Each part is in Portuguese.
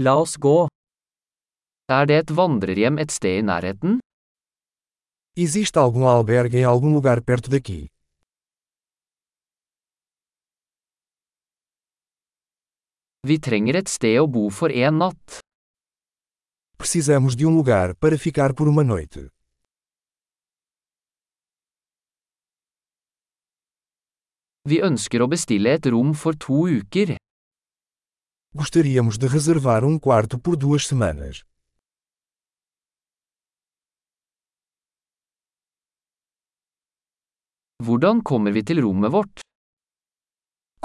La oss gå. Er det et vandrerhjem et sted i nærheten? Existe algum albergue em algum lugar perto daqui? Vi trenger et sted å bo for en natt. Precisamos de um lugar para ficar por uma noite. Vi ønsker å bestille et rom for to uker. Gostaríamos de reservar um quarto por duas semanas. Hvordan kommer vi til rommet vårt?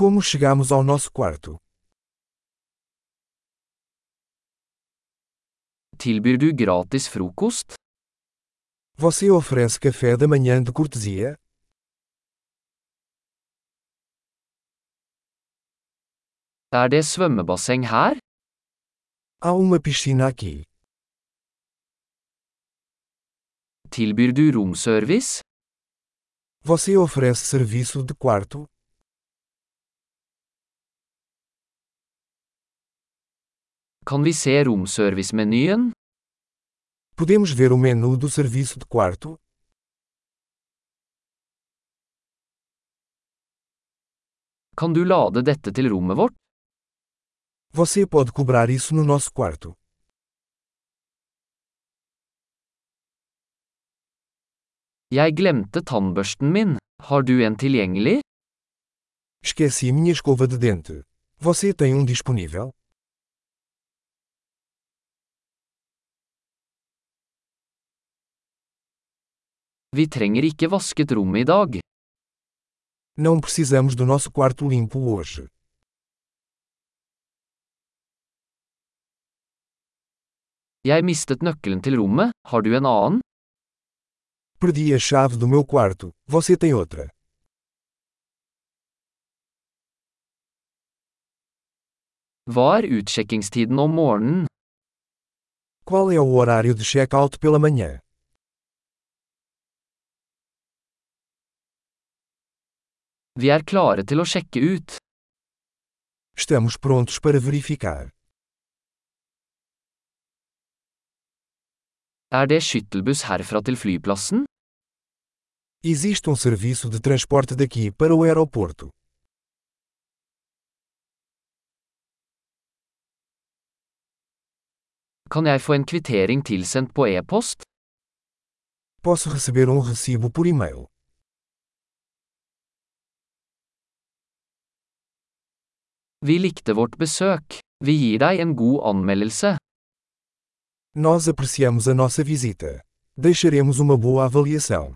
Como chegamos ao nosso quarto? Tilbyr du gratis frokost? Você oferece café da manhã de cortesia? Er det svømmebasseng her? Há uma piscina aqui. Tilbyr du romservice? Você oferece serviço de quarto? Kan vi se romservice-menyen? Podemos ver o menu do serviço de quarto? Kan du lade dette til rommet vårt? Você pode cobrar isso no nosso quarto. Jeg glemte tannbørsten min. Har du en tilgjengelig? Esqueci minha escova de dente. Você tem um disponível? Vi trenger ikke vasket rommet i dag. Não precisamos do nosso quarto limpo hoje. Jeg mistet nøkkelen til rommet, har du en annen? Perdi a chave do meu quarto. Você tem outra? Hva er utsjekkingstiden om morgenen? Qual é o horário de check-out pela manhã? Vi er klare til å sjekke ut. Estamos prontos para verificar. Er det skyttelbuss herfra til flyplassen? Existe um serviço de transporte daqui para o aeroporto. Kan jeg få en kvittering tilsendt på e-post? Posso receber um recibo por e-mail. Vi likte vårt besøk. Vi gir deg en god anmeldelse. Nós apreciamos a nossa visita. Deixaremos uma boa avaliação.